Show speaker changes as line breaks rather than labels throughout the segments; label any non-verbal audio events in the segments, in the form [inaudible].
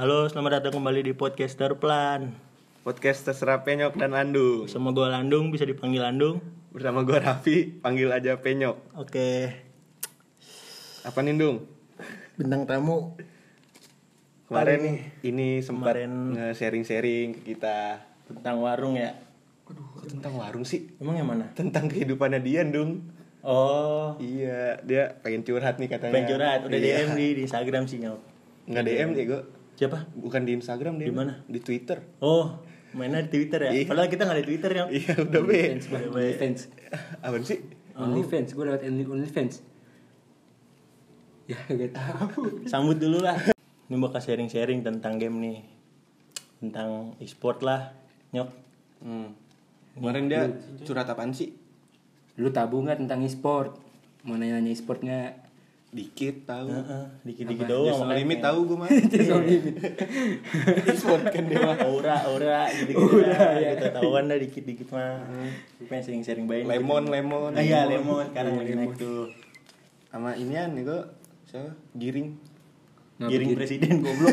Halo, selamat datang kembali di Podcaster Plan.
Podcast terserah Penyok dan Landung
Sama gue Landung, bisa dipanggil Landung.
Bersama gue Raffi, panggil aja Penyok
Oke,
Apa nih Dung?
bintang tamu
Kemarin ini sempat
Kemarin-
nge-sharing-sharing ke kita
tentang warung ya.
Kok Tentang warung sih?
Emang yang mana?
Tentang kehidupannya Dian Dung
Oh,
Iya, dia pengen curhat nih katanya
pengen curhat. Udah DM
Iya.
di, di Instagram sih nyok.
Nggak DM deh gue
Siapa?
Bukan di Instagram
Iya.
dia
Di mana?
Di Twitter
Oh, mainnya di Twitter ya.
Iya.
Padahal kita nggak ada Twitter nyok.
Iya udah be
Fans, bang. OnlyFans,
[laughs] Apaan sih?
OnlyFans, gue lewat only- OnlyFans. Ya gak tau.
Sambut dulu lah. Ini bakal sharing-sharing tentang game nih, tentang e-sport lah, nyok.
Hmm. Kemarin dia curhat apaan sih?
Lu tabu nggak tentang e-sport? Mau nanya-nanya e-sportnya?
Dikit tahu.
Heeh, Dikit-dikit
Just
doang.
no
makanya.
limit tahu Iya. gue
[laughs]
mah.
Sport kan dia mah aura aura Hmm. gitu gitu udah ya. ketahuan dah dikit dikit mah Gue pengen sering sering bayin
Lemon, lemon.
ah iya lemon sekarang lagi naik tuh
Sama inian nih kok. Siapa? Giring.
giring presiden goblok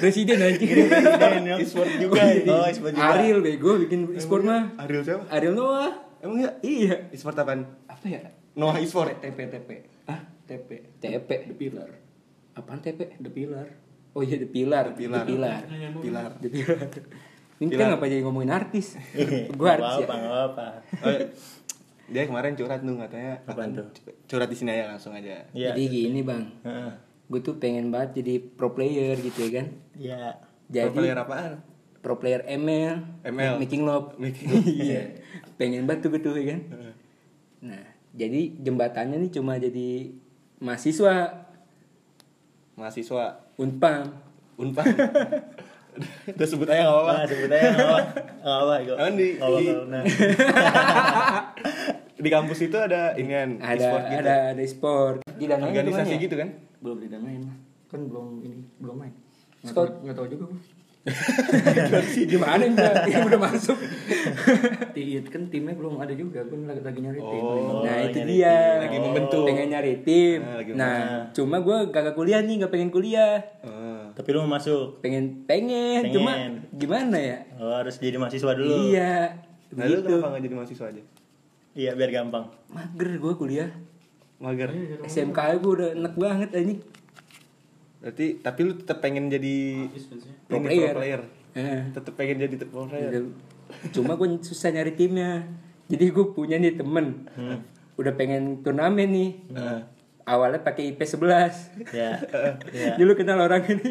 Presiden anjing. [laughs]
presiden ya
E-sport juga ini.
oh e-sport juga [laughs]
Ariel bego bikin e-sport mah.
Ariel siapa?
Ariel Noah.
Emang ya?
Iya.
E-sport apaan?
Apa ya?
Noah e-sport. Eh,
TP TP ah TP
TP.
The Pillar
Apaan TP?
The Pillar
Oh iya The Pilar.
The Pilar.
The Pilar.
Pilar.
The Pilar. Ini kita ngapa jadi ngomongin artis? Gue
Gak
artis ya.
apa nggak apa
Oh, iya. dia kemarin curhat tuh katanya.
Apaan
aku
tuh?
Curhat di sini aja langsung aja.
ya
Jadi gini bang,
Heeh.
gue tuh pengen banget jadi pro player gitu ya kan.
ya
Jadi
Pro player apaan?
pro player ML,
ML.
making love. [laughs]
Making
Iya. Pengen banget tuh gue tuh ya kan. Nah, jadi jembatannya nih cuma jadi mahasiswa
Mahasiswa
Unpam.
Unpad. [laughs] Udah sebut aja enggak apa-apa.
Nah, sebut aja nggak apa nggak apa kok
Kan di-
Nggak apa,
di-
nggak apa. Nah,
Di kampus itu ada inian
Ada
e-sport gitu.
ada ada sport. Gila
Organisasi gitu kan?
belum didanain lah kan belum ini belum main Nggak
Scott.
tahu- nggak tahu [laughs] juga gue
Gimana ini, Bang? Ini udah masuk.
tiit kan timnya belum ada juga gue lagi, lagi nyari tim
Oh,
nah, itu
nyari
dia.
tim.
Lagi membentuk.
Pengen nyari tim.
Nah, lagi
Nah, cuma gue kagak kuliah nih, gak pengen kuliah.
Eh,
tapi lu mau masuk
Pengen pengen,
Pengen.
cuma gimana ya?
Lu harus jadi mahasiswa dulu
Iya.
Nah, lu kenapa nggak jadi mahasiswa aja?
iya biar gampang
Mager gue kuliah.
Mager.
SMK aja gue udah enak banget anjing.
Berarti tapi lu tetap pengen jadi
Pro
ini,
player. Iya.
Pro player.
Eh,
Tetap pengen jadi pro player.
udah- Cuma gue susah nyari timnya. Jadi gue punya nih temen. Udah pengen turnamen nih.
Heeh.
Awalnya pakai IP 11.
[laughs] ya ya
[laughs] Dulu kenal orang ini.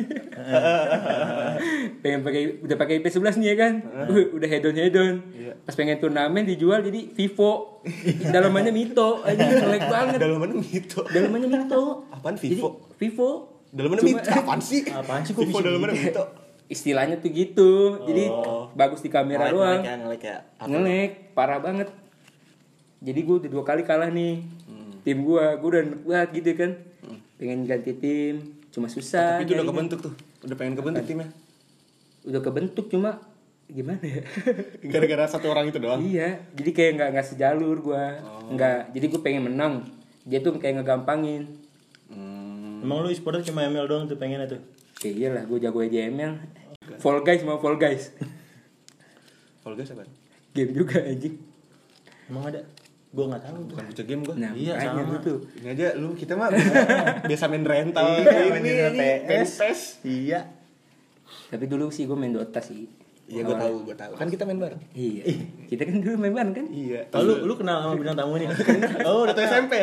pengen pakai udah pakai IP 11 nih ya kan. Uh, Udah hedon hedon. Pas pengen turnamen dijual jadi [laughs] Vivo. Dalamannya Mito. Anjing jelek banget.
Dalamannya Mito.
Dalamannya Mito.
Apaan
Jadi,
Vivo?
Vivo
Dalamannya Mito. Apaan sih?
Apaan sih, kok
Vivo
bisa
dalamannya Mito?
istilahnya tuh gitu jadi
Oh.
bagus di kamera doang
ya, ngelek ya.
ngelek parah banget jadi gue udah dua kali kalah nih
Hmm.
tim gue gue udah enak banget gitu kan pengen ganti tim cuma susah
Tapi itu udah
nyarinya.
kebentuk tuh. Udah pengen kebentuk timnya.
udah kebentuk cuma gimana ya
Gara-gara satu orang itu [laughs] doang. Oh.
iya jadi kayak nggak nggak sejalur gue nggak jadi gue pengen menang dia tuh kayak ngegampangin
Hmm.
emang lu e-sportnya cuma ML doang tuh pengennya tuh
kayak iyalah gue jago aja ML Fall Guys mau Fall Guys [laughs]
Fall Guys apaan?
game juga anjing
emang ada gua nggak tahu
Bukan bocah game gua.
nah
Iya,
makanya
sama.
gitu
Ini aja lu kita mah biasa, biasa main rental.
Iya, main
Ini,
rental
ini,
PS.
pen test.
iya
Tapi dulu sih gue main Dota sih.
Iya gua tahu, gua tahu. Kan kita main bareng.
Iya. Kita kan dulu main bareng kan?
Iya.
Oh, lu, lu kenal sama bintang
[laughs]
tamu ini? oh, udah
Atau
tau
SMP.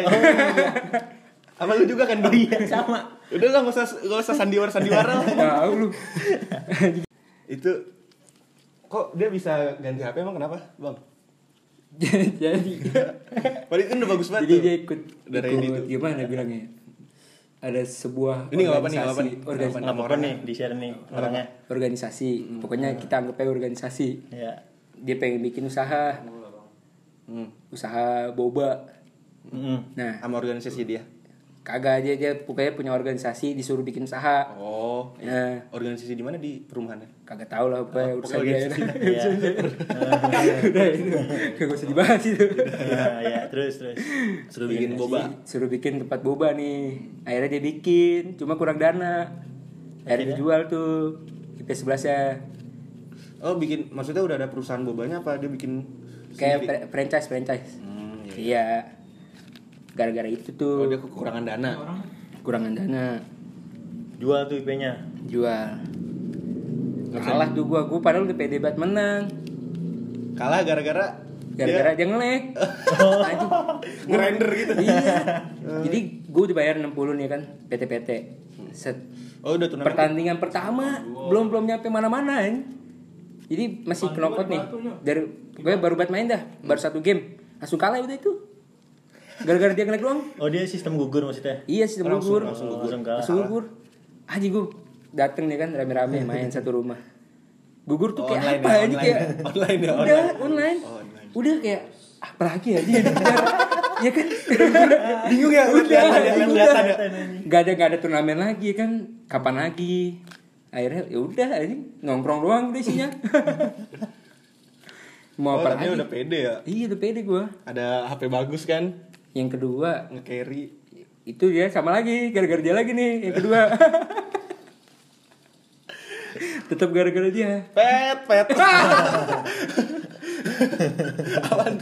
Apa iya, lu juga kan? Iya.
Sama.
Udah lah, gak usah, gak usah sandiwara-sandiwara lah.
Tahu
[laughs]
lu.
itu kok dia bisa ganti HP emang kenapa bang?
Jadi
Padahal itu udah bagus banget
jadi
tuh.
dia ikut
udah ready
ikut
tuh.
gimana bilangnya? Ada sebuah
Ini nggak apa-apa nih, nggak apa-apa
organisasi,
nih.
organisasi,
Nggak apa-apa
ya.
nih, di-share nih orangnya.
organisasi.
Hmm.
Pokoknya kita anggap aja organisasi.
Iya.
Dia pengen bikin usaha,
Hmm.
usaha boba.
Mm-mm.
Nah,
Sama organisasi dia.
kagak aja dia pokoknya punya organisasi disuruh bikin usaha.
Oh,
Nah,
organisasi di mana di perumahannya?
kagak tahu lah apa urusan
Oh,
dia.
organisasi. [laughs]
[laughs]
Iya.
Udah itu. Kagak usah dibahas
[laughs]
itu.
Iya, iya, terus terus.
Suruh bikin
Jadi,
boba.
suruh bikin tempat boba nih akhirnya dia bikin cuma kurang dana akhirnya dijual tuh IP 11-nya
Oh bikin maksudnya udah ada perusahaan bobanya apa dia bikin
kayak
sendiri?
fra- franchise franchise
Hmm, iya.
iya gara-gara itu
Oh,
tuh
dia kekurangan dana.
kurangan dana
Jual tuh IP-nya.
jual
Kan-
kalah tuh gua gua padahal udah pede banget menang
Kalah gara-gara
gara-gara dia
[laughs]
ngelek anjing
Iya. ngerender gitu.
iya jadi gua dibayar 60 nih kan PT-PT set
Oh udah tuh
pertandingan pertama belum belum nyampe mana-mana anjing. jadi masih knockout nih dari gue baru buat main dah baru satu game langsung kalah udah itu gara-gara dia ngelek doang
Oh dia sistem gugur maksudnya?
Iya sih langsung, gugur.
langsung gugur. Langsung
kan.
kalah.
Langsung gugur. Anjing gue dateng nih kan
[laughs]
rame-rame main satu rumah. Gugur
Oh,
tuh kayak
online
apa
ya, [laughs]
aja
online.
kayak
Online ya,
udah
online.
online.
Oh, online.
Udah kayak apa lagi ya dia [laughs] ya kan
[laughs] bingung ya
udah
kelihatan,
udah
kelihatan ya.
nggak ada nggak ada turnamen lagi kan kapan lagi akhirnya ya udah anjing nongkrong doang udah
[laughs]
isinya
Oh,
mau apa
tadinya
lagi
udah pede ya.
iya udah pede gue
Ada HP bagus kan,
yang kedua
nge-carry.
itu dia sama lagi gara-gara dia lagi nih yang kedua [laughs] tetap gara-gara dia
Pet, pet. Apaan?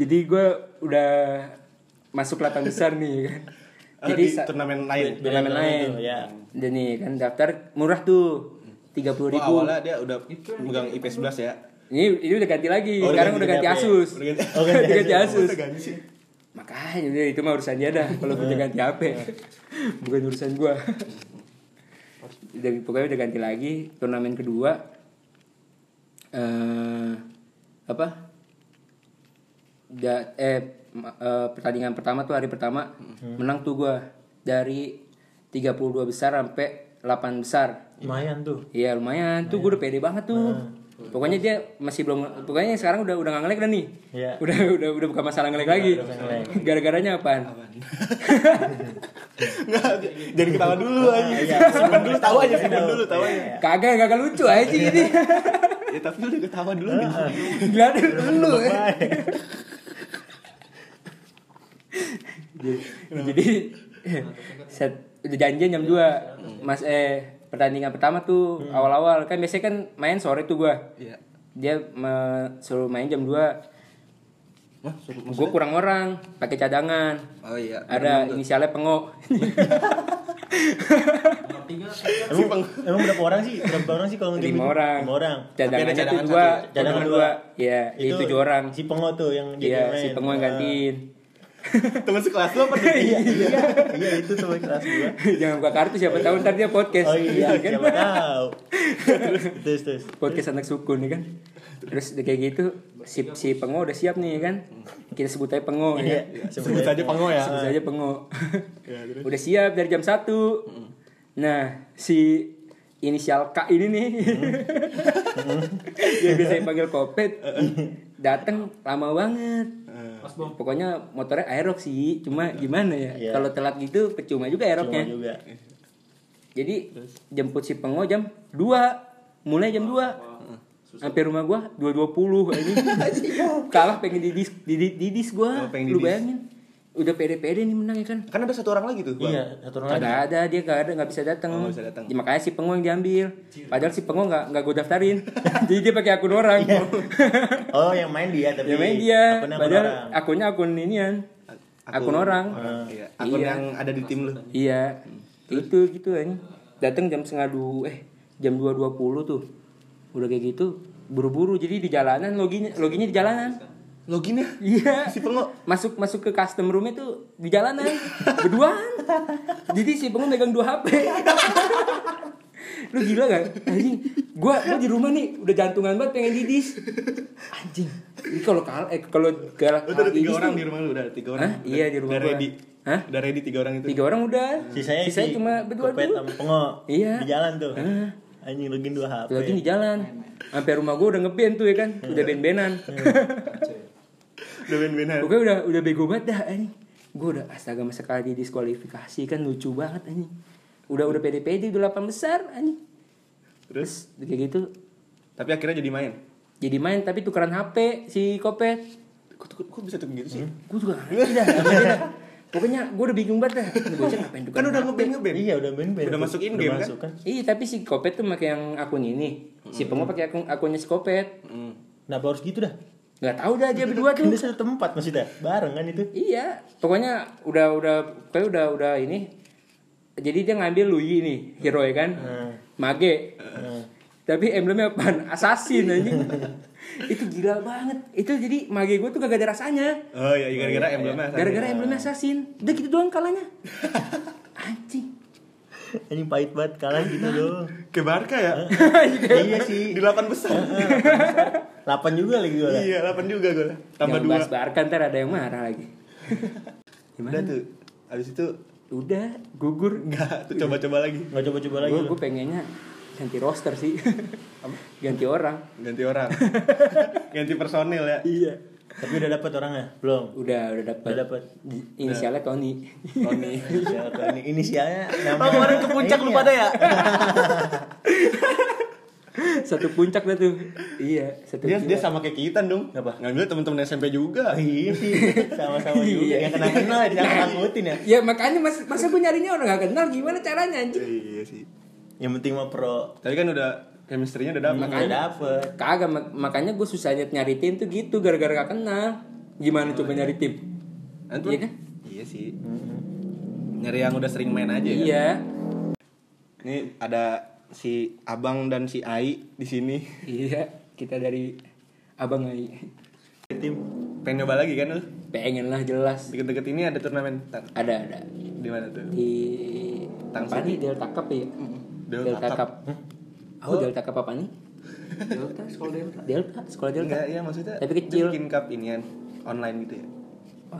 jadi gue udah masuk delapan besar nih kan
Oh,
jadi
di
sa-
turnamen lain.
Bila
turnamen lain
itu, ya.
dan nih kan daftar murah tuh
Oh,
tiga puluh ribu
awalnya dia udah megang IP 11 ya.
ini ini udah ganti lagi
Oh, udah
sekarang
ganti,
udah ganti
ganti apa ya?
asus
Udah ganti-
Oh, ganti
[laughs] Udah ganti asus
Masa ganti sih?
makanya udah, itu mah urusan dia dah kalau udah ganti HP bukan urusan gua udah pokoknya udah ganti lagi turnamen kedua eh apa da, eh ma- eh, pertandingan pertama tuh hari pertama menang tuh gua dari 32 besar sampai 8 besar
Lumayan tuh.
Iya lumayan tuh gue udah pede banget tuh.
Nah.
Pokoknya dia masih belum pokoknya sekarang udah udah nggak ngelek dah nih.
Iya.
Udah udah udah bukan masalah ngelek
Iya,
lagi. Gara-garanya apaan?
Nggak, jadi ketawa [laughs] dulu aja.
Iya.
Simpen Iya, dulu tahu aja, simpen dulu tahu aja.
Kagak kagak lucu aja
[laughs]
gitu.
Ya tapi udah ketawa dulu gitu.
Gila ada lu. ya. Jadi set udah janjian jam 2. Mas eh pertandingan pertama tuh awal-awal kan biasanya kan main sore tuh gua.
Hmm. Iya.
Dia me- suruh main jam 2.
Wah, suruh
Gue kurang orang, pakai cadangan.
Oh iya.
Ada inisialnya pengo.
Emang, emang berapa orang sih? Berapa orang sih kalau ngejam
Lima
itu?
orang.
Lima orang.
Cadangannya
Tapi ada
tuh
cadangan
dua,
satu ya?
cadangan dua. Iya, itu tujuh orang.
Si pengo tuh yang jadi
Iya,
main.
si pengo yang
Ah.
gantiin.
Teman ah. sekelas lu apa? dia?
Iya, iya. Iya, itu teman kelas gua.
[laughs] Jangan buka kartu siapa tahu ntar dia podcast.
Oh iya,
kan?
siapa
[laughs]
tahu. Terus terus.
podcast anak suku nih kan. Terus udah kayak gitu si si pengo udah siap nih kan. Kita sebut aja pengo
Iya,
ya.
Sebut
sebenarnya.
saja Pango ya.
Sebut aja pengo. [laughs]
Ya, terus.
udah siap dari jam 1 Nah, si inisial K ini nih. [laughs] Dia biasa dipanggil Kopet. Datang lama banget.
Eh.
Pokoknya motornya aerok sih, cuma gimana ya?
Iya.
Kalau telat gitu percuma juga
Cuma
aeroknya.
juga.
Jadi jemput si Pengo jam 2. Mulai jam 2. Sampai rumah gua
[laughs]
2.20 anjing. Kalah pengen didis didis, didis gua.
Oh, pengen
Lu
didis.
bayangin. Udah pede-pede nih menang ya kan.
Kan ada satu orang lagi tuh. Bang.
Iya, satu orang lagi.
Kagak ada dia gak ada nggak bisa datang.
Oh, nggak bisa datang.
Ya, makanya si pengo yang diambil. Padahal si pengo nggak nggak gue daftarin. Jadi dia pakai akun orang.
Oh, yang main dia tapi.
ya main dia.
Akunnya akun
Padahal
orang.
akunnya akun inian. Akun orang.
Iya, akun
Iya.
yang ada di tim lu.
Iya. Itu gitu kan. Datang jam setengah dua eh jam dua dua puluh tuh. Udah kayak gitu buru-buru jadi di jalanan loginya loginya di jalanan.
Loginnya
Iya.
si Pengo.
Masuk masuk ke custom room itu di jalanan berduaan. Jadi si pengen megang dua HP. Lu gila gak? Anjing, gua, gua di rumah nih udah jantungan banget pengen didis. Anjing. Ini kalau kalah eh kalau kalah.
Lu udah ada
kalah
tiga
didis
orang
tuh-
di rumah lu, udah ada tiga orang.
Hah? Iya, di rumah
Udah
gua.
ready.
Hah?
Udah ready tiga orang itu.
Tiga orang udah.
Sisanya
Sisanya
si
cuma berdua
Kopet
dulu.
sama pengo.
Iya.
Di jalan tuh.
Ah.
Anjing login dua HP.
Lagi di jalan. Sampai rumah gua udah ngeband tuh ya kan. Udah ben-benan.
Udah ben-benan.
Pokoknya udah udah bego banget dah anjing. Gue udah astaga masa kali didiskualifikasi kan lucu banget anjing. Udah udah pede-pede udah 8 besar anjing.
Terus
Udah Kayak gitu
tapi akhirnya jadi main.
jadi main tapi tukeran HP si Kopet.
kok, kok, kok bisa tukang gitu sih?
Gue juga gak ngerti dah, gak ngerti dah. Pokoknya gue udah bingung banget dah. Ini Bocah ngapain juga.
Kan udah ngeband ngeband.
Iya udah main band.
Udah masuk
Udah
in-game, kan?
masuk, kan?
Iya tapi si Kopet tuh pakai yang akun ini. Si Pengo pakai akun akunnya si Kopet.
Kenapa harus gitu dah?
Gak tau dah dia berdua
Kan
tuh.
dia satu tempat maksudnya, bareng kan itu.
Iya, pokoknya udah udah kayak udah udah ini. Jadi dia ngambil Luigi nih, hero ya kan?
Hmm.
Mage. Tapi emblemnya apaan? Assassin
[laughs]
anjing. itu gila banget. Itu jadi mage gue tuh gak ada rasanya.
Oh iya, gara-gara emblemnya. San.
Gara-gara emblemnya assassin. Udah gitu doang
[laughs]
kalahnya. Anjing.
Anjing pahit banget kalah gitu loh.
ke Barca ya?
iya sih.
[laughs] Di delapan besar.
8 juga lagi gue.
Iya, delapan juga gue. Tambah
yang
dua.
bahas Barca ntar ada yang marah lagi.
Udah tuh. Abis itu
Udah gugur.
enggak, tuh coba-coba lagi.
Gak coba-coba lagi.
Gue
lu.
gue pengennya ganti roster sih. [laughs] ganti orang.
Ganti orang. [laughs] Ganti personil ya.
Iya.
Tapi udah dapet orangnya? Belum.
Udah udah dapat.
Udah dapet.
Inisialnya Tony.
Tony. Inisial Tony. Inisialnya nama.
Oh, kemarin ke puncak lu pada ya?
[laughs] satu puncak dah tuh. Iya, satu.
Dia dia
puncak.
sama kayak kita dong.
Apa?
Ngambil teman-teman SMP juga.
Iya sih. Sama-sama juga.
Iya.
Yang kena kenal ya ditakutin ya.
Ya makanya mas, masa gue nyarinya orang gak kenal gimana caranya anjing?
Iya sih.
Yang penting mah pro.
Tapi kan udah chemistry-nya udah dapat.
Udah dapet.
Kagak mak- makanya gue susah nyet- nyari tim tuh gitu gara-gara gak kenal. Gimana coba nyari tim?
Antum?
Iya kan?
Iya sih. Nyari yang udah sering main aja ya.
Iya.
Ini ada si Abang dan si Ai di sini.
Iya, kita dari Abang Ai.
Tim pengen nyoba lagi kan lu?
Pengen lah jelas.
Deket-deket ini ada turnamen Tan.
Ada ada
Di mana tuh?
di
Tang
apa nih Delta Cup ya?
Delta Cup.
Oh, Delta Cup apa nih?
Delta, sekolah Delta.
Delta, sekolah Delta.
Enggak, ya maksudnya.
Tapi
dia
kecil.
Bikin cup inian online gitu ya.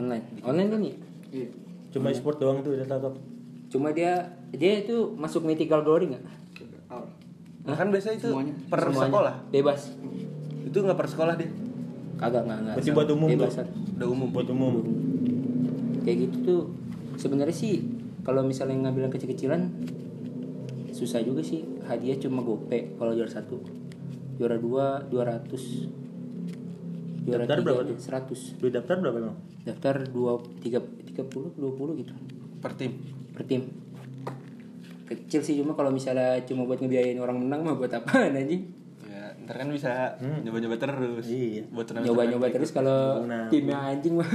Online. Online kan nih?
Iya.
Cuma e-sport doang tuh udah tangkap.
Cuma dia dia itu masuk mythical glory nggak?
Out.
Nah, kan biasanya itu
Semuanya.
per
Semuanya.
sekolah.
Bebas.
Itu nggak per sekolah dia.
Kagak nggak nggak.
Berarti buat umum
Bebas.
tuh.
Udah umum.
Buat umum.
Kayak gitu tuh sebenarnya sih kalau misalnya ngambil yang kecil-kecilan susah juga sih hadiah cuma gope kalau juara satu juara dua dua ratus juara
Daftar berapa
tiga seratus
Duit daftar berapa emang?
daftar dua tiga tiga puluh dua puluh gitu
Per tim.
per tim kecil sih cuma kalau misalnya cuma buat ngebiayain orang menang mah buat apa anjing
Ya, ntar kan bisa nyoba-nyoba terus.
Iya.
Buat turnamen. [laughs]
nyoba-nyoba terus kalau
Nah.
timnya anjing [laughs] mah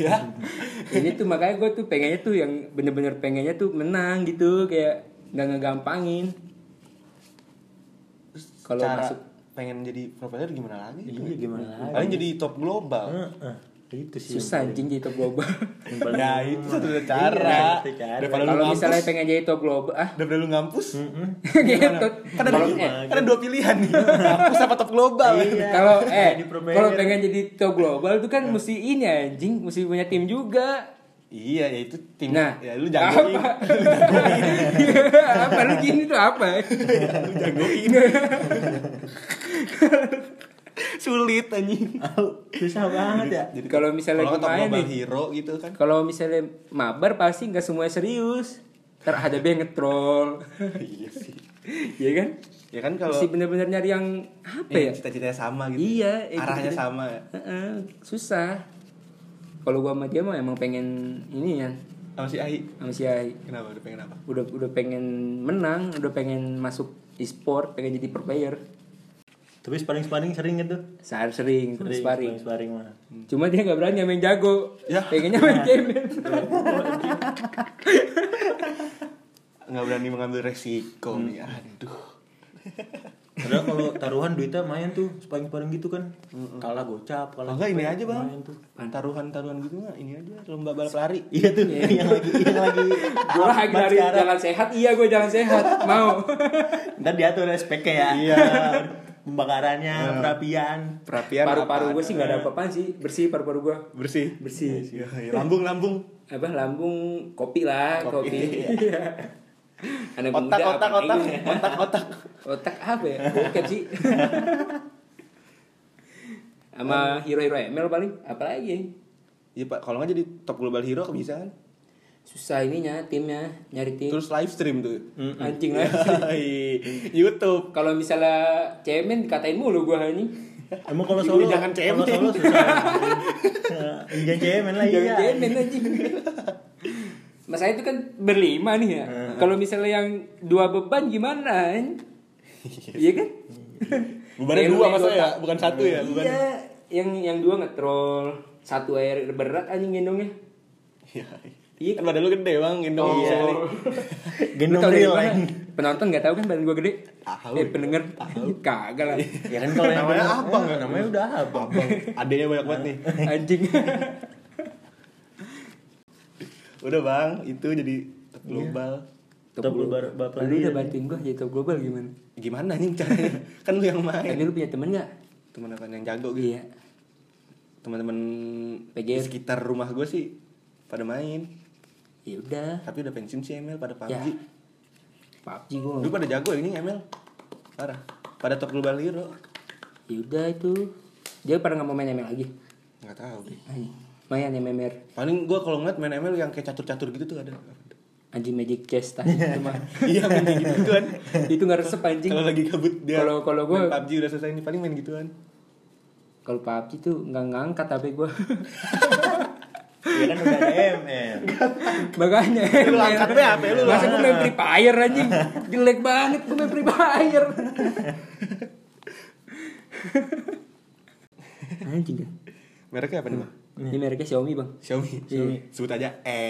Ya.
ini tuh makanya gue tuh pengennya tuh yang bener-bener pengennya tuh menang gitu kayak nggak ngegampangin
Kalau
kalau masuk
pengen jadi provider gimana Hmm. lagi?
Iya gimana lagi?
Paling jadi top global.
Heeh. Ah, Itu
Iya,
sih.
susah anjing jadi top
[laughs]
global
Yang paling- [laughs]
Nah, itu satu
Iya,
cara.
satu cara.
Daripada lu
kalau
ngampus,
misalnya pengen jadi top global ah
daripada lu ngampus. Hmm.
[laughs] gitu
Kan ada,
kalau
dua-
eh [laughs]
kan ada dua pilihan nih. Ngampus apa top global.
Iya.
kalau eh
Jadi provider.
kalau pengen jadi top global tuh kan mesti ini anjing mesti punya tim juga
Iya, ya itu tim.
Nah,
ya lu jagoin.
apa? [laughs] Iya, apa lu gini tuh apa?
lu
[laughs]
jagoin. Sulit anjing.
Au, susah banget ya.
[laughs] Jadi
Kalau misalnya
kalau
gua
top
main
global
nih.
hero gitu kan.
Kalau misalnya mabar pasti nggak semuanya serius. Ntar ada yang ngetrol.
Iya sih.
Iya kan?
Ya kan kalau
Mesti bener-bener nyari yang apa ya?
yang cita-citanya sama gitu.
Iya, ya
Arahnya
gitu-gitu.
sama ya.
Heeh, susah. Kalau gua sama dia mah emang pengen ini ya
Sama si Ai.
sama si Ai.
Kenapa? Udah pengen apa?
Udah udah pengen menang, udah pengen masuk e-sport, pengen jadi pro player.
Tapi sparring-sparring sering gitu.
Sehari sering, sering, sparring.
Sparring mah.
Cuma dia nggak berani main jago.
Ya.
Pengennya main game.
Nggak berani mengambil resiko nih. Aduh.
Padahal kalau taruhan duitnya main tuh sparring-sparring gitu kan. Kalah gocap, kalah.
Kalau enggak ini aja, Bang.
Main tuh.
Taruhan-taruhan gitu mah ini aja lomba balap lari.
Iya tuh, yang lagi yang [laughs] lagi
gue lagi nyari jalan sehat, iya gue jalan sehat, mau.
Ntar diatur SPK ya. Iya. [laughs]
Iya.
Pembakarannya, perapian.
Perapian
paru-paru
apaan?
gue sih nggak ada apa-apaan sih bersih paru-paru gue
bersih.
bersih
Ya, ya, Lambung-lambung.
apa lambung kopi lah
[laughs]
kopi, Iya. anak
Iya. Otak,
muda
otak,
apa
otak,
ini?
otak, otak.
otak apa ya bokep sih [laughs] sama hero-hero ML paling apalagi ya?
Iya Pak, kalau nggak jadi top global hero bisa kan?
susah ininya timnya nyari tim
Terus live stream tuh.
anjing lah
Hmm.
[laughs]
Hai, YouTube.
kalau misalnya cemen dikatain mulu gue ini
Emang kalau solo
Jangan cemen.
Kalau solo
[laughs]
susah. Ya, Jangan cemen lah
Jangan
iya.
cemen aja. [laughs] Mas saya itu kan berlima nih ya. Kalau misalnya yang dua beban gimana?
[laughs]
eh? Iya kan?
Bebannya
Kayak lu
dua
naik
mas
kota.
ya, bukan satu ya. Bebannya.
Iya, yang yang dua ngetrol, satu air berat anjing gendongnya.
Iya.
Iya.
Kan badan lu gede bang, gendong
Oh.
bisa [laughs] nih.
Lu
Gendong
tau dari
real
mana?
lain.
Penonton nggak tahu kan badan gua gede?
Tahu. Iya.
Eh pendengar tahu. [laughs] Kagak lah.
Ya kan kalau yang
Namanya
bener-
abang,
eh,
kan?
Namanya udah abang.
Abang, adanya banyak banget nih. [laughs]
Anjing.
Udah bang, itu jadi global.
Tetap lu bar bapak
Lu udah bantuin gua jadi top global gimana?
Gimana nih caranya? Kan lu yang main.
Tapi lu punya temen nggak?
Temen apa yang jago gitu?
Iya.
Teman-teman di
PGS.
sekitar rumah gue sih pada main.
Ya udah.
Tapi udah pensiun sih ML pada
Ya.
PUBG.
PUBG gua.
Lu pada jago ya ini ML. Parah. Pada top global hero.
Ya udah itu. Dia pernah nggak mau main ML lagi?
Enggak tahu. deh.
Ay, Lumayan ya memer.
Paling gue kalau ngeliat main ML yang kayak catur-catur gitu tuh ada.
Anjing magic chest tadi itu mah.
[laughs] iya main kayak gitu kan.
[laughs] Itu nggak resep anjing.
Kalau lagi kabut dia.
Kalau- kalau gua-
main PUBG udah selesai ini paling main gituan.
Kalau PUBG tuh nggak ngangkat HP gua.
Ya kan udah ada ML.
[laughs] Makanya
Lu
ML.
angkat deh HP lu. lu
Masa
angkat.
gue main Free Fire
[laughs]
anjing Jelek banget gue main Free Fire Anjing dah
Mereknya apa nih, Bang?
Ini mereknya Xiaomi bang
Xiaomi. Xiaomi. Sebut aja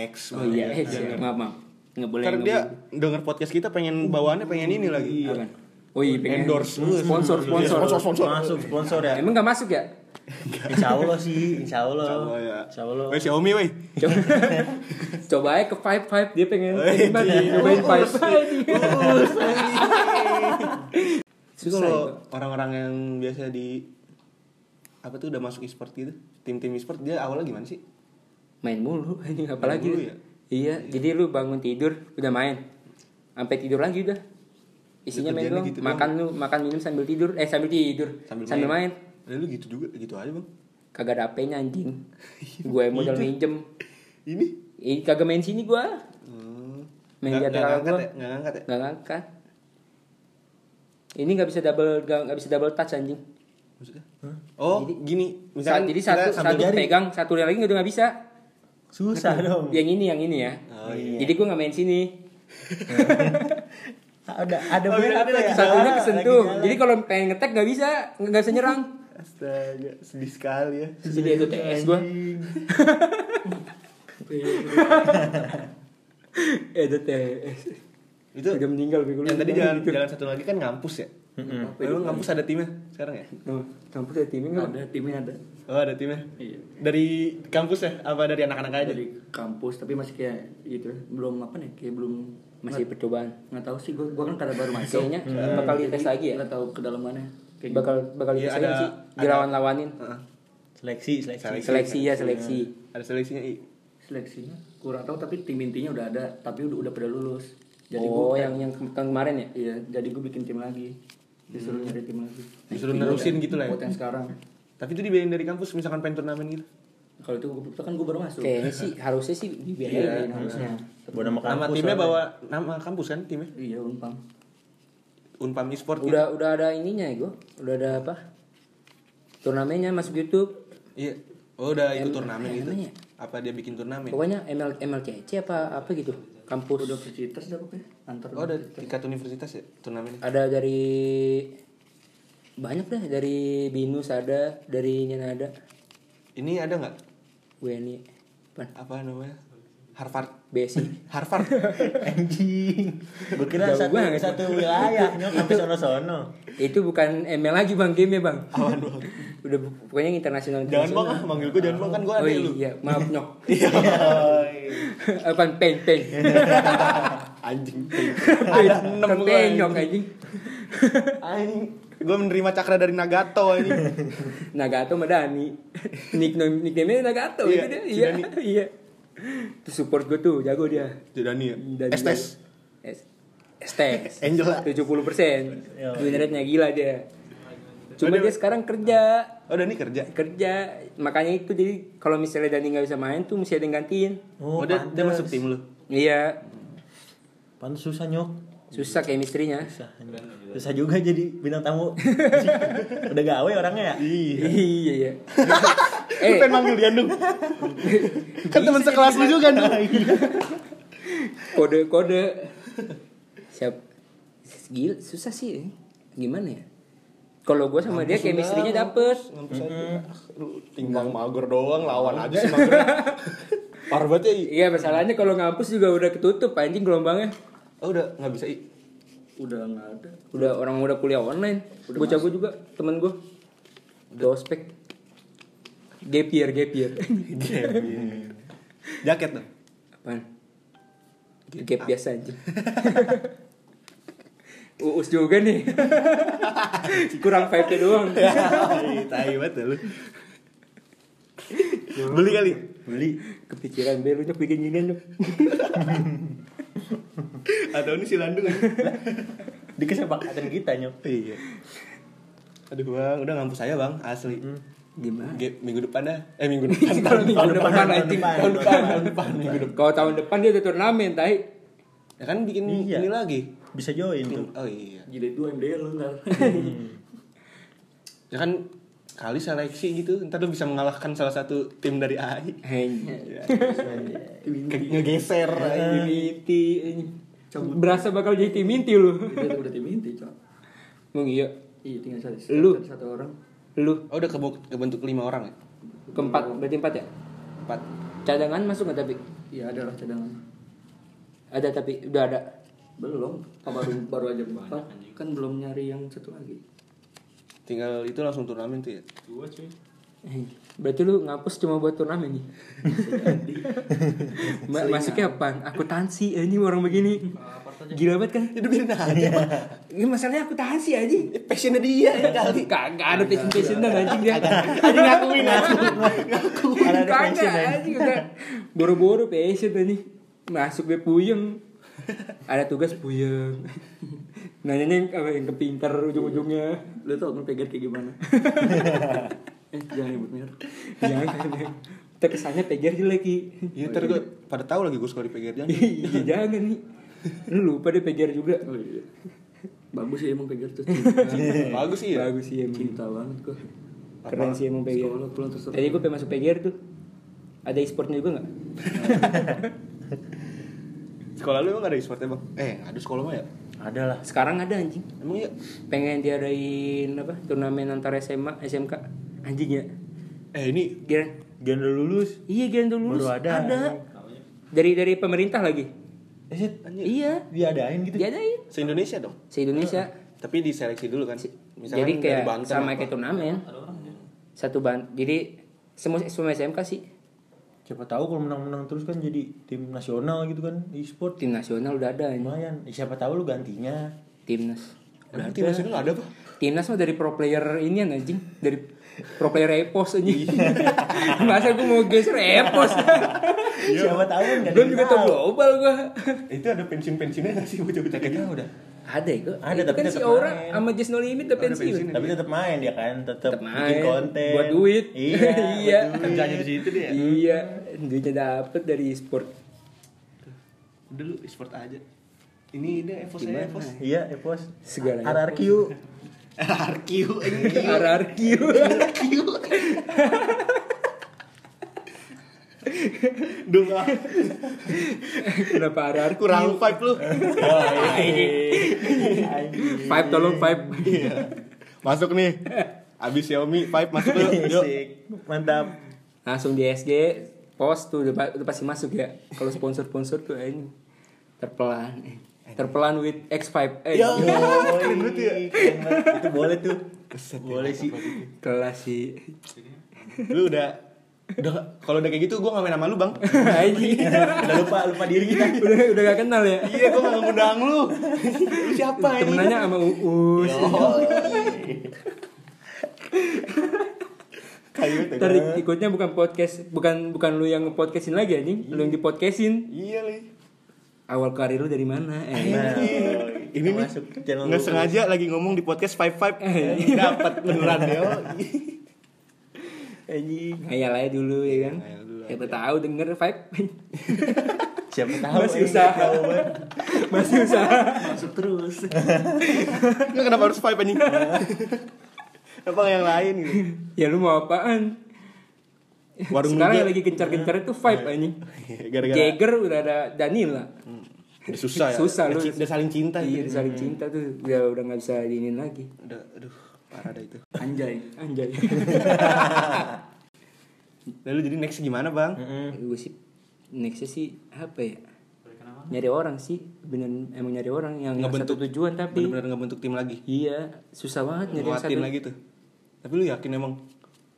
X.
Iya. Oh
Bang.
iya eh,
Jangan.
Maaf maaf Nggak boleh
Karena
nggak
dia
boleh.
denger podcast kita pengen bawaannya pengen ini lagi.
Apaan? Oh iya pengen
Endorse. Iya,
Sponsor sponsor
Sponsor.
Masuk sponsor ya.
Emang nggak masuk ya
Insya Allah sih, Insya Allah.
Oh ya.
Insya Allah.
Weh, Xiaomi weh.
Coba, coba aja ke five five dia pengen
Eh,
pengen banget
iya.
cobain five five.
Tapi kalau orang-orang yang biasa di apa tuh udah masuk e-sport gitu, tim-tim e-sport dia awalnya gimana sih?
main mulu [laughs] anjing apalagi
mulu ya?
iya jadi lu bangun tidur udah main sampai tidur lagi udah isinya
Ya,
main
kerjaannya gitu
doang makan lu makan minum sambil tidur eh sambil tidur sambil, main.
Ya lu gitu juga, gitu aja, Bang.
kagak ada
[laughs]
HP-nya anjing gue modal
Gitu.
minjem
Ini
Ih, kagak main sini gua
Hmm.
Main
Nggak-
di antara
nggak ngangkat
gua.
ya? Nggak ngangkat ya?
nggak ngangkat ini nggak bisa double nggak nggak bisa double touch anjing
Maksudnya? Oh, gini, misalkan
Saat- jadi
kita
satu
sambil
satu
jari.
pegang satu lagi udah nggak bisa
Susah dong.
yang ini yang ini ya
Oh,
jadi gue nggak main sini
Ada ada
Oh,
berat
ada lagi
ya?
satunya
Ada,
kesentuh
lagi
jadi kalau pengen ngetek nggak bisa nggak bisa nyerang
Astaga, sedih sekali ya.
jadi itu TS gue [laughs] itu TS
Itu
Udah meninggal, Bego.
Yang tadi
Udah gitu.
jalan jalan satu lagi kan ngampus ya? Memang ngampus ada timnya sekarang ya?
Tuh, kampus ada timnya nggak
ada timnya ada
Oh, ada timnya.
Iya.
Dari kampus ya? Apa dari anak-anak aja?
dari kampus tapi masih kayak gitu belum apa nih kayak belum
masih percobaan
nggak tahu sih gua gua kan kada baru masuk
kayaknya bakal dites lagi ya
nggak tahu kedalamannya kayak
bakal bakal
Iya,
dites
ada-
lagi sih
ada-
dilawan-lawanin
Heeh.
Seleksi, seleksi.
seleksi ya seleksi
Ada seleksinya I.
seleksinya kurang tahu tapi tim intinya udah ada tapi udah udah pada lulus jadi gua
oh yang yang ke- tahun kemarin ya
iya jadi gua bikin tim lagi disuruh nyari tim lagi
Hmm.
Iya, kan?
Disuruh nerusin gitu lah ya.
buat yang sekarang
Tapi itu dibiayain dari kampus misalkan pengen turnamen gitu.
kalau itu gua kan gua baru masuk
kayaknya sih harusnya sih
Iya.
dibiayain harusnya
Buat nama
Nama
kampus.
timnya
soalnya.
bawa nama kampus kan timnya?
iya unpam
Unpam e-sport gitu.
udah udah ada ininya ya gue udah ada apa turnamennya masuk YouTube
Iya. Oh, udah ikut turnamen gitu.
namanya?
Apa dia bikin turnamen?
pokoknya ML MLCC apa apa gitu kampus
udah universitas dah pokoknya antar
Oh, ada tingkat universitas ya turnamennya.
ada dari banyak deh dari binus ada dari Nyen ada
Ini ada nggak?
WNI apa
Apa namanya? Harvard. [laughs]
BSI
Harvard.
Anjing. Gue kira
Jauh
satu,
banget.
satu wilayah. Nyok sampai sono-sono.
itu bukan ML lagi bang game ya bang
Awan banget.
[laughs] udah bu- pokoknya yang internasional
Jangan bang,
internasional.
ah. manggil gue jangan bang kan gue
oh
ada lu.
iya maaf nyok [laughs]
Iya.
apa peng peng
Anjing. [laughs] Ada enam
Kan
gue.
peng nyok anjing
[laughs] Anjing. Gue menerima cakra dari Nagato ini.
Nagato sama
[laughs]
Dani nickname nickname Nagato
Iya,
itu dia
si
iya
Dani.
iya itu support gue tuh jago dia
Jodani ya.
Dan
Estes.
S- E Estes.
Angela.
70 persen.
Iya.
Yo.
Win rate-nya gila dia. Cuma
Udah,
dia sekarang kerja.
Oh Dani kerja.
Kerja. Makanya itu jadi kalau misalnya Dani nggak bisa main tuh mesti ada yang gantiin.
Oh, dia, dia masuk tim lu.
Iya.
Pantes susah nyok.
Susah chemistry-nya.
Susah, susah juga jadi bintang tamu. [laughs] Udah gawe orangnya ya? Iya.
[laughs] Iya, iya.
[laughs] Lu
eh,
pengen manggil dia [laughs] dong Kan temen sekelas lu juga dong [laughs]
kode-kode. Siap. Gila, susah sih. Gimana ya? Kalau gue sama dia chemistry-nya dapet.
Tinggal mager doang lawan aja sih
[laughs]
mager
Iya,
Parah banget ya I.
Iya, masalahnya kalau ngampus juga udah ketutup anjing gelombangnya.
Oh udah gak bisa I
Udah nggak ada.
Udah orang udah kuliah online. Bocah gue juga, temen gue. Udah ospek. Gap year, gap year.
iya.
Jaket
[laughs]
dong
Apaan? Gap biasa aja. [laughs] Uus juga [laughs] nih. Kurang vibe-nya doang.
Tai tai banget ya lu Beli kali
Ya Beli.
Kepikiran be lu nyok bikin ginian nyok.
Atau ini si Landung aja.
Di kesepakatan kita nyok.
Iya Aduh bang udah ngampus saya bang asli
Gimana?
Ge- Minggu depan dah Eh minggu depan
[laughs]
Tahun depan
tahun
anjing.
depan,
Tahun depan.
tahun depan.
Minggu depan. Kalau tahun depan dia ada turnamen tai.
Ya kan bikin
Iya.
ini lagi
Bisa join tuh.
Oh iya Mm.
Jilid dua MDR lu ntar.
Ya kan kali seleksi gitu ntar lu bisa mengalahkan salah satu tim dari AI
Anjing.
Ke- ngegeser
Iya.
iya. aja.
Timinti. anjing. Berasa bakal jadi timinti lu.
Udah udah tim inti, Cok.
Emang iya.
Iya, tinggal satu.
Lu.
satu orang.
Lu
oh udah kebu- kebentuk lima orang ya
keempat, berarti empat ya?
empat
Cadangan masuk nggak tapi?
Iya, ada lah cadangan.
Ada tapi udah ada.
Belum, apa baru baru aja empat. Kan belum nyari yang satu lagi.
tinggal itu langsung turnamen tuh ya
Eh, Berarti lu ngapus cuma buat turnamen
[laughs]
nih. Ma- masuknya apaan? Akuntansi anjing orang begini. Gila banget kan?
Ah, itu biarin aja
Ini masalahnya akuntansi anjing.
passionnya dia ya kali
Kagak ada passion passionan anjing dia. [laughs] Anjing ngakuin anjing.
Ada
Ngakuin.
ada passion,
Kagak
ya?
anjing udah. Boro-boro passion anjing. Masuk gue puyeng. Ada tugas puyeng. Nanyanya yang, apa, yang kepinter ujung-ujungnya.
Lu tau kan PGR kayak
[laughs]
gimana? eh, jangan nyebut merek.
Jangan. Kita kesannya PGR jelek Ki.
ya ntar gue pada tahu lagi gue sekolah di PGR jangan
Iya jangan nih. Lu lupa deh PGR juga.
Oh iya. Bagus sih emang PGR
[laughs]
tuh.
[laughs] bagus sih ya
Bagus sih emang.
Cinta banget gua.
Keren sih emang PGR.
Sekolah pulang terus.
Tadi gue pengen masuk PGR tuh. Ada e-sportnya juga nggak?
sekolah lu emang gak ada e-sportnya bang eh nggak ada sekolah mah ya
Ada lah.
Sekarang ada anjing.
emang ya
Pengen diadain apa? Turnamen antara SMA, SMK. Anjing ya.
eh ini
Giran.
Gian udah lulus.
Iya Giran tuh lulus.
Baru ada.
Dari dari pemerintah lagi.
Eh, Sid,
Iya.
diadain gitu.
Diadain.
se Indonesia dong
Se Indonesia.
tapi diseleksi dulu kan
jadi
misalnya
kayak
dari Banten
sama
apa.
kayak turnamen. Satu ban. Jadi semua semua SMK sih
Siapa tahu kalau menang-menang terus kan jadi tim nasional gitu kan e-sport.
tim nasional udah ada anjing.
Lumayan. Eh, Siapa tahu lu gantinya.
Timnas.
Emang tim nasional nggak ada pak
Timnas mah dari pro player ini anjing, dari pro player Epos anjing.
Iya.
[laughs] Masa gue mau geser Epos.
Iya.
Siapa tahu kan
Belum juga tau global gue.
itu ada pensiun pensiunnya nggak sih bocah bocah kita udah
Ada ya gue.
Ada, tapi
kan
tetap
si Aura
main.
sama Just No Limit udah pensiun.
Tapi tetap main dia kan, tetap
Tetap
bikin
main,
konten.
buat duit. [laughs]
Iya.
Iya.
buat duit.
kerjanya di situ dia
Iya, duitnya dapet dari e-sport.
udah lu e-sport aja ini dia evos saya evos
Iya, Epos.
Segalanya.
RRQ.
[laughs] RQ
RRQ.
dong ah.
Kenapa RRQ?
[laughs] kurang vibe
[laughs]
lu
iya.
Five tolong five.
Iya. masuk nih abis Xiaomi vibe masuk lu
Iya
yuk
Asik. Mantap.
Langsung di SG post tuh udah, udah pasti masuk ya. Kalau sponsor-sponsor tuh eh, ini terpelan. eh. Terpelan with X5. Eh,
Yo.
Keren banget ya. Itu boleh tuh.
ya,
Boleh sih.
gitu.
kelas sih.
lu udah udah kalau udah kayak gitu gua nggak main sama lu bang
Anjing.
Udah lupa lupa diri kita.
udah udah gak kenal ya
iya gua nggak ngundang lu [laughs] Lu siapa ini
temenannya sama Uus
kayu Nah, tuh
Ntar ikutnya bukan podcast bukan bukan lu yang podcastin lagi anjing lu yang dipodcastin
iya li
awal karir lu dari mana
Iya.
eh
Nah,
ini nih
masuk channel
nggak
lu.
sengaja lagi ngomong di podcast Five Five dapat beneran ya
anjing ngayal aja dulu ya kan
Ngayal dulu [laughs]
siapa tahu denger vibe
Siapa tahu
Masih
ini
usaha.
tahu banget.
Masih usaha.
masuk terus
Nggak, kenapa harus pipe anjing? Apa yang lain gitu?
Ya lu mau apaan?
Warung
Sekarang
juga.
yang lagi gencar-gencar itu vibe anjing.
Gara-gara
Jagger udah ada Danila.
udah susah ya.
Susah
udah,
lu.
ci- udah saling cinta
Iya,
gitu.
saling cinta tuh udah udah nggak bisa diinin lagi.
Udah aduh, parah dah itu.
anjay
Anjay.
Lalu jadi next gimana, Bang?
gue sih nextnya sih apa ya? Nyari orang sih, bener emang nyari orang yang yang satu tujuan tapi
Benar-benar ngebentuk tim lagi.
iya susah banget nyari yang
Nguatin
satu
lagi tuh. Tapi lu yakin emang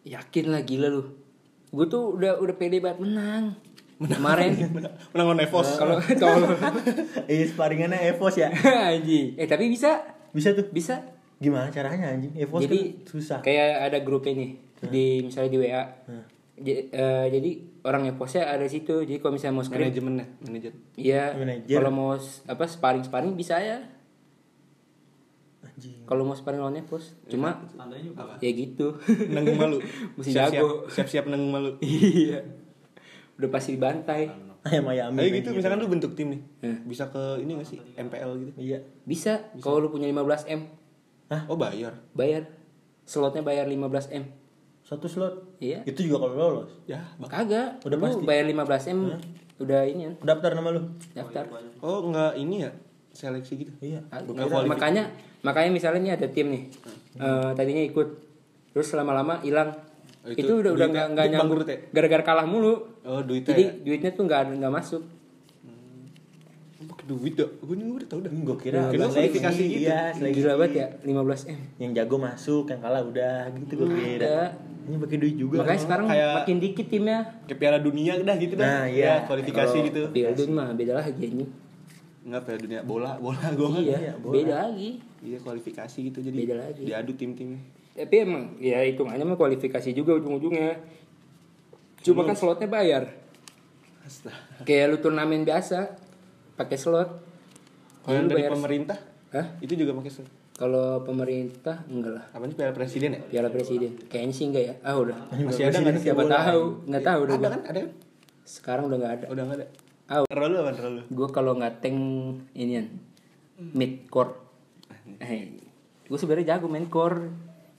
Yakin lah gila lu. Gue tuh udah udah pede banget menang. Kemarin
menang on Evos
kalau tolong
Iya, sparingannya Evos ya.
[laughs] anjing. Eh tapi bisa,
Bisa tuh.
bisa.
Gimana caranya anjing? Evos
Jadi
kan susah.
Kayak ada grupnya nih di misalnya di WA. Ja- eh, jadi orang yang postnya ada di situ. Jadi kalau misalnya mau script,
manajemennya, manajer.
iya.
Manajer.
Kalau mau s- apa sparring sparring bisa ya.
Anjing.
Kalau mau sparring lawannya pos. Cuma ya gitu. [laughs]
Nanggung malu.
Mesti
Siap-siap-
jago.
Siap-siap nanggung malu.
iya. Udah pasti dibantai.
Ayam ayam.
Ayo gitu, misalkan lu bentuk tim nih. Bisa ke ini gak sih? MPL gitu.
Iya.
Bisa. Kalau lu punya 15 m,
Oh, bayar.
bayar. Slotnya bayar 15 m.
Satu slot.
Iya.
Itu juga kalau lolos.
Ya.
Kagak.
Udah
Udah lu bayar 15 m. Udah ini kan,
Daftar nama lu.
daftar.
Oh, enggak ini ya. Seleksi gitu.
Iya.
Ah,
Bukan
kira-
kualifikasi.
makanya makanya misalnya nih ada tim nih eh, tadinya ikut terus lama-lama hilang
Oh,
itu,
itu
udah udah
duitnya-
nggak nggak
duit
nyambung
bangkrut ya?
gara-gara kalah mulu
Oh, duitnya
jadi
ya.
duitnya tuh nggak nggak masuk
Lu Pakai duit dah. Gue nih gue udah tau dah.
Gue kira
Kira
seleksi.
kualifikasi gitu.
Iya, seleksi.
gila banget ya 15 m
Yang jago masuk, yang kalah udah gitu gue
Udah.
kira. Ini pakai duit juga.
makanya sekarang
kan, kayak-
makin dikit timnya
Kayak Piala Dunia dah gitu dah.
Nah, iya.
Ya, kualifikasi gitu.
Bildun mah beda lagi ini
Enggak Piala Dunia bola, bola gue kan.
iya beda lagi
Iya, kualifikasi gitu jadi.
Beda lagi.
Diadu tim-timnya.
tapi emang ya hitungannya mah kualifikasi juga ujung-ujungnya cuma kan slotnya bayar
Astaga.
kayak lu turnamen biasa pakai slot
Kalau
Jadi
yang
lu
dari
bayar-
pemerintah
Hah?
itu juga pakai surat.
Kalau pemerintah enggak lah.
Apa sih Piala Presiden ya?
Piala Presiden. Kayaknya sih enggak ya. Ah udah.
Masih ada nggak sih?
Siapa tahu, enggak tahu udah
Ada
gua.
kan? Ada kan?
Sekarang udah enggak ada.
Udah nggak ada.
Ah,
Role apa role?
gua kalau nggak tank inian mid core. Eh, gua sebenarnya jago main core.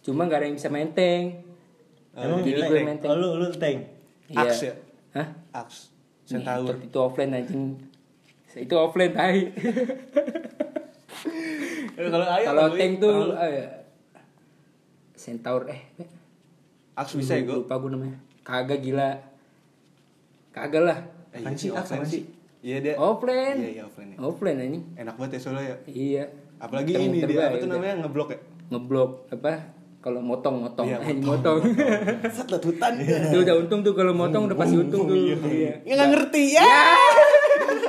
Cuma nggak ada yang bisa main tank.
iya.
Emang
Eh, Jadi
gila
gue
ya?
main tank.
Oh, lu lu tank.
Iya.
Axe ya?
Hah?
Aks. Centaur.
Itu, itu offline anjing. Itu offline tai. [laughs]
Eh, Kalau ayo
kalau tank tuh eh, Centaur eh
Aks bisa ya gue.
lupa gue namanya kagak gila kagak lah
Apaan Eh, sih Aks apaan sih? Iya dia.
offline
Iya iya offline. ya.
offline ini
Enak banget ya solo ya.
iya
Apalagi
Muter-muter
ini dia apa
baik
tuh
udah.
namanya ngeblok ya?
ngeblok apa kalau motong motong [laughs]
Iya,
Eh, motong
[laughs] Set lah
[laughs]
hutan.
itu udah untung tuh kalau motong udah pasti untung tuh iya
Ya nggak ngerti ya.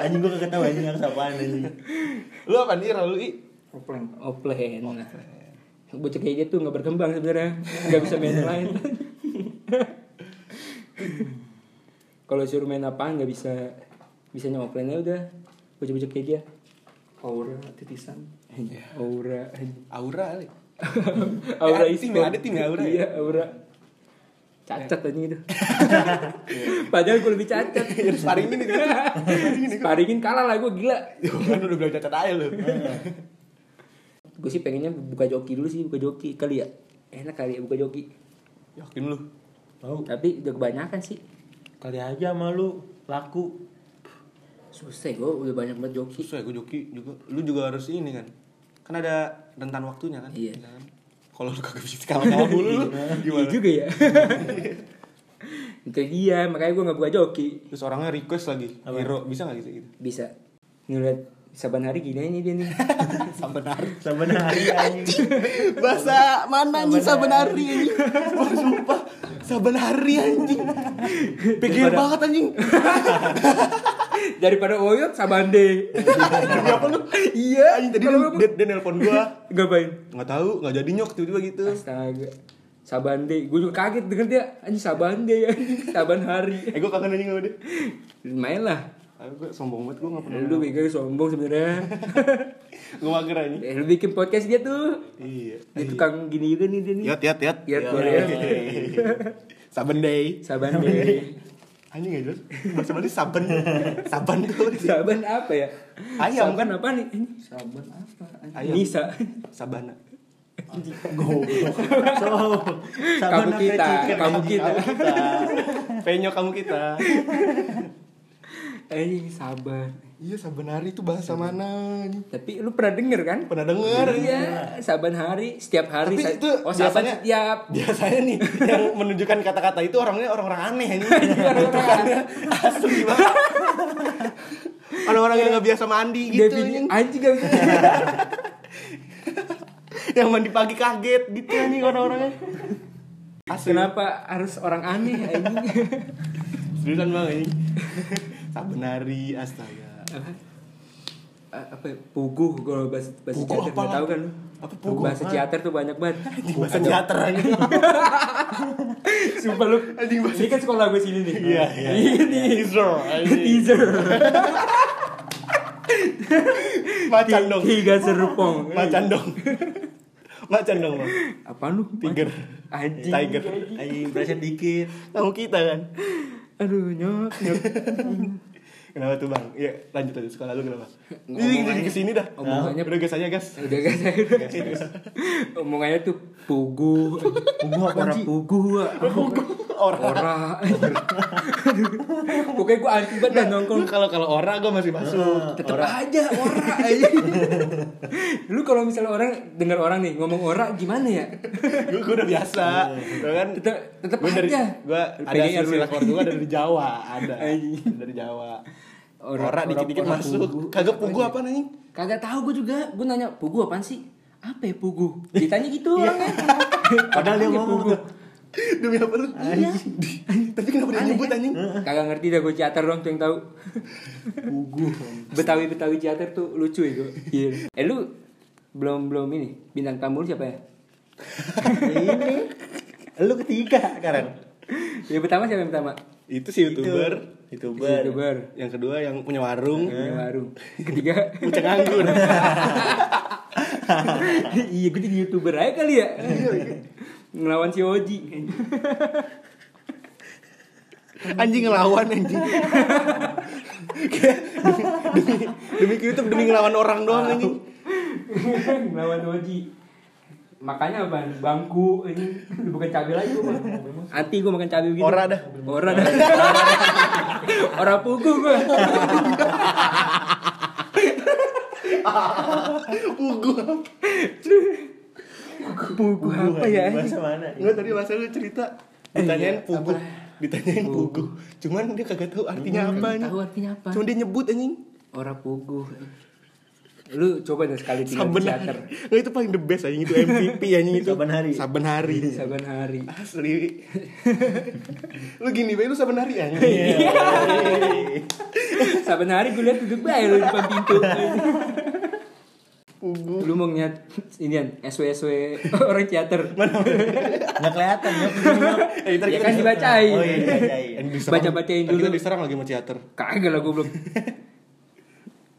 Anjing gue kagak tahu anjing harus apaan anjing.
Lu apa nih role lu? I?
offline offline nah bocah kayak gitu nggak berkembang sebenarnya nggak bisa main yang lain kalau suruh main apaan nggak bisa bisanya offline aja udah bocah-bocah kayak dia Iya.
aura titisan
[laughs]
aura
Aura Ali.
aura
Eh, ada tim ya,
e-sport.
ada tim ya, aura ya?
iya aura cacat aja gitu [laughs] padahal gue lebih cacat
Sparring
[laughs]
ini gitu.
sparingin kalah lah gue gila
Kan udah bilang cacat aja lu.
gue sih pengennya buka joki dulu sih buka joki kali ya enak kali ya buka joki
Yakin lu.
Tahu.
tapi udah kebanyakan sih
Kali aja sama lu laku.
susah gue udah banyak banget joki
Susah ya gue joki juga. Lu juga harus ini kan. Kan ada rentan waktunya kan.
Iya.
Misalkan, Kalau lu kagak bisa kalah-kalah mulu lu
Iya
gimana?
juga ya itu dia makanya gue nggak buka joki
Terus orangnya request lagi. Hero bisa gak gitu gitu?
bisa Nih lihat saban hari gini aja dia
[laughs]
nih
Sebenarnya anjing.
[laughs]
Bahasa mana anjing sabenari anjing? Wah, sumpah. Sabenari anjing. Pikir banget anjing.
daripada oyot sabande
Demi apa lu?
iya
Anjing tadi
kalau
dia,
nggak-
dia, dia nelpon gua.
ngapain
Enggak tahu, enggak jadi nyok tiba-tiba gitu.
Astaga. Sabande, gue juga kaget denger dia anjing Sabande ya, Saban hari.
Eh gua kangen anjing sama dia.
Lumayan lah.
Ah, Gua sombong banget gua enggak pernah.
Lu bego sombong sebenarnya. [laughs]
Gua mager anjing.
Eh, Lu bikin podcast dia tuh.
Iya.
Dia tukang gini juga nih Iya, dia nih.
Yat yat yat.
Yat, boleh.
Saben day.
Sabande.
Anjing gak jelas. Bahasa Bali saben. Saben tuh.
Saban apa ya?
Ayam.
Saban apa nih? Ini
Saban apa? anjing?
Ayam.
Nisa.
Sabana.
Goblok. So,
Kamu
Sabana
kita,
Fried Chicken.
kamu kita.
Kamu kita. Penyok kamu kita.
Anjing sabar.
Iya saben hari itu bahasa mana? anjing?
Tapi lu pernah denger kan?
Pernah denger?
Iya, saban hari, setiap hari.
Tapi
sa-
itu
oh, saban
biasanya- [laughs]
setiap
Biasanya nih yang menunjukkan kata-kata itu orangnya orang-orang aneh ini.
Orang-orang
Asli banget. Orang-orang yang gak biasa mandi gitu.
Defini-
anjing.
anjing gak bisa.
yang mandi pagi kaget gitu anjing orang-orangnya. Asli.
Kenapa harus orang aneh anjing?
Seriusan banget ini. Saben hari astaga.
Apa? A- apa ya? puguh kalau bahasa bahasa
Puguh
Ciater
apa
nggak tahu
lagi?
kan lu?
Apa puguh
bahasa
apa?
Ciater tuh banyak banget
[laughs] Anjing bahasa teater anjing.
sumpah lu
Anjing bahasa-
ini kan sekolah gue sini nih
Iya, iya.
ini
Teaser, anjing.
teaser
Macan dong.
tiga serupong
Macan dong. [laughs] Macan dong. Bang.
apa lu
Tiger.
anjing
Tiger.
Anjing, berasa dikit.
Kamu kita kan.
aduh nyok nyok
Kenapa tuh bang? Ya lanjut aja sekolah lu kenapa? Ini
Ngomongannya-
lagi kesini dah.
omongannya-
udah gas aja gas.
udah guys omongannya tuh puguh
Puguh apa,
orang
Ji?
puguh
Orang.
orang Aduh. pokoknya gue anti banget dah
Lu
nongkrong
kalau kalau orang gue masih masuk.
tetep aja ora aja lu kalau misalnya orang dengar orang nih ngomong ora gimana ya
gue udah biasa. Tuh kan.
tetep tetep
Gue dari
aja
gue ada
PGR lu ya.
silsilah keluarga gue dari Jawa ada.
Anjing.
Dari Jawa.
Orang-
Orang dikit-dikit
orang pugu.
masuk. Kagak pugu apa nih?
kagak tahu gue juga gue nanya pugu apaan sih apa ya
[laughs]
pugu ditanya gitu orangnya
Iya. Padahal dia
Apaan ya,
ngomong
pugu?
tuh.
Demi apa lu?
Iya.
Tapi kenapa dia nyebut anjing?
kagak ngerti dah gue ciater doang tuh yang tahu
Pugu.
betawi betawi ciater tuh lucu ya gue eh lu belum belum ini bintang tamu lu siapa ya
Ini. Lu ketiga, Karen.
yang pertama siapa yang pertama
Itu sih youtuber.
Youtuber.
youtuber
Yang kedua yang punya warung.
Eh.
Punya warung ketiga
Pucang anggur.
[laughs] iya gue jadi youtuber aja kali ya
Iya,
ngelawan si Oji
anjing ngelawan anjing. [laughs] Kayak demi, demi ke YouTube demi ngelawan orang doang anjing.
[laughs] ngelawan Oji makanya apa bangku ini bukan cabai lagi gue mah anti gue makan cabai gitu
Ora dah.
ora dah [laughs] ora pugu gue
Pugu.
pugu apa ya
Anjing, Bahasa mana?
Enggak tadi masa lu cerita ditanyain pugu. Ditanyain pugu. Cuman dia kagak tahu artinya apa anjing.
tahu artinya apa
Cuman dia nyebut anjing.
ora pugu lu coba deh sekali tinggal Iya,
Saben
di teater
hari. Nggak, itu paling the best anjing itu MVP anjing itu.
Saben hari.
Saben hari.
saban hari
Asli. [laughs] lu gini bae lu saben hari anjing.
saban hari gue liat duduk bae lu di depan pintu
Pugu.
lu mau ngeliat ini kan SW SW orang teater
Nggak kelihatan, ya. Nyok.
Eh, ntar
ya
kita
kan
diserang.
dibacain
Oh, iya, iya, iya.
Eh, diserang.
Baca-bacain
Ntar Kita
dulu. Iya.
diserang lagi sama teater.
kagak lah goblok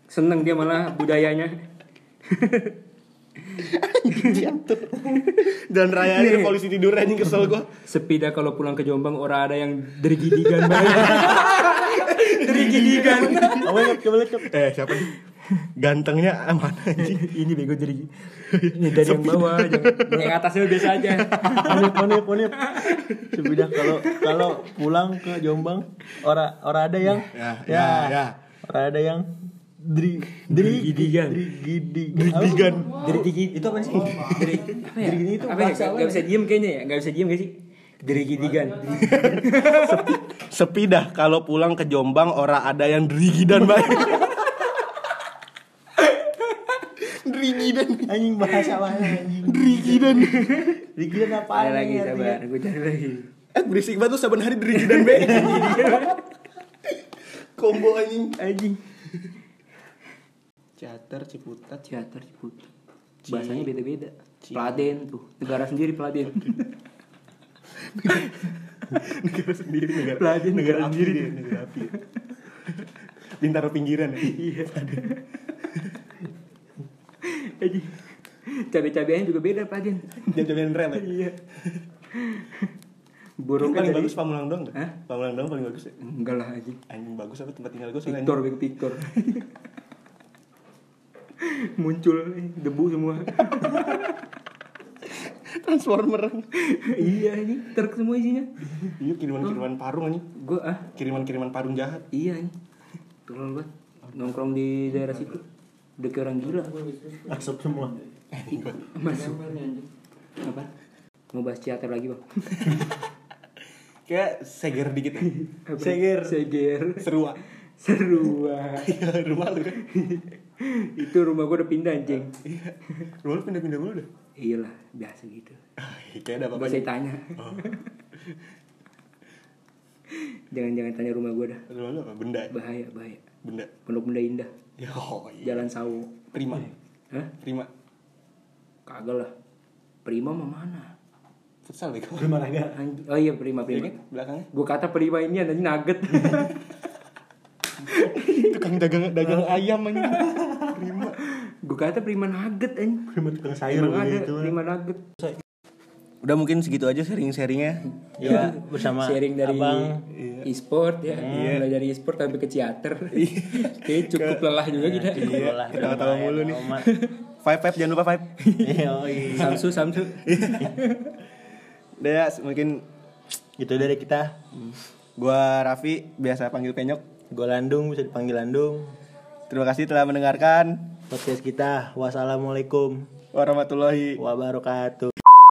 seneng dia malah budayanya
Ciatur. Dan raya aja
Nih.
polisi tidur anjing kesel gua.
sepi dah kalau pulang ke Jombang orang ada yang dari gidigan
[laughs]
banyak dari gidigan
Kamu lihat, kamu lihat, Nyok.
Eh, siapa nih? Gantengnya aman anjing.
ini bego dari ini dari yang bawah yang, yang atasnya biasa aja
Monip, monip, monip. Sebidah kalau kalau pulang ke Jombang, ora ora ada yang
Ya, ya, ya.
Ora ada yang dri dri
Gidigan.
Dri gidi.
Gidigan.
Apa? Dri gigi. Itu apa sih?
dari Oh, apa ya,
Dari gini itu
apa ya?
bahasa
Gak,
apa
gak
ya?
bisa diem kayaknya ya gak bisa diem gak sih dari gidigan
Sepi dah kalau pulang ke Jombang ora ada yang drigidan baik. drigidan,
Anjing bahasa mana anjing?
drigidan.
Dri gidan apa
ada lagi sabar gue cari lagi
[laughs] Eh berisik banget tuh saben hari drigidan baik. Kombo anjing.
anjing
Ciater Ciputat.
Ciater Ciputat. Bahasanya beda-beda. Peladen tuh, negara sendiri Peladen.
[laughs] negara sendiri negara
Pelajaran
negara
negara
api dia, negara api bintaro pinggiran ya
Iya. Anjing. Cabai-cabaian juga beda Peladen.
jam-jaman rel ya
Iya.
Iya. Paling
[laughs] buruknya dari
bagus Pamulang doang deh.
Hah?
Pamulang doang paling bagus ya.
enggak lah aja
Anjing bagus apa tempat tinggal gue soalnya.
Victor Big Victor [laughs] muncul eh, debu semua [laughs]
anjing. Transformer.
iya ini terk semua isinya
Iya kiriman-kiriman parung anjing.
gue ah
Kiriman-kiriman parung jahat.
iya ini tolol banget nongkrong di daerah situ udah kayak orang gila
Asap semua.
masuk apa ngebahas ciater
[laughs]
lagi bang
Kayak seger dikit. ya.
Apa?
Seger.
seger
Serua.
seru Bang.
Iya, rumah lu kan.
itu rumah gua udah pindah anjing
Iya. Rumah lu pindah-pindah mulu dah.
iyalah biasa gitu
Ah, Kayak ada apa-apa.
gak usah ditanya jangan-jangan tanya rumah gua dah
Rumah lu apa? Benda. ya?
bahaya bahaya
Benda.
pondok benda indah
Ya, oh, iya.
jalan sawo
Prima.
Hah?
Prima.
kagak lah prima mah mana
Futsal deh kok.
Gimana gak?
Anj- oh iya prima
Iya
prima
kan? Belakangnya.
gua kata prima ini ada nugget [laughs]
Tukang dagang dagang
Ah.
ayam anjing. Prima.
gua kata prima nugget anjing
Prima tukang sayur
Emang ada
gitu.
prima nugget
Udah mungkin segitu aja sharing-sharingnya.
Ya
Iya,
bersama
sharing dari
Abang Iya.
e-sport ya mulai dari e-sport sampai ke teater [laughs] Kayaknya cukup lelah juga kita
Iya,
ketawa-tawa mulu nih. [laughs] Five five jangan lupa five.
samsu samsu
Udah ya, mungkin
Itu dari kita.
gua Raffi biasa panggil Penyok.
Gue Landung bisa dipanggil Landung.
Terima kasih telah mendengarkan.
Podcast kita. Wassalamualaikum
Warahmatullahi
wabarakatuh.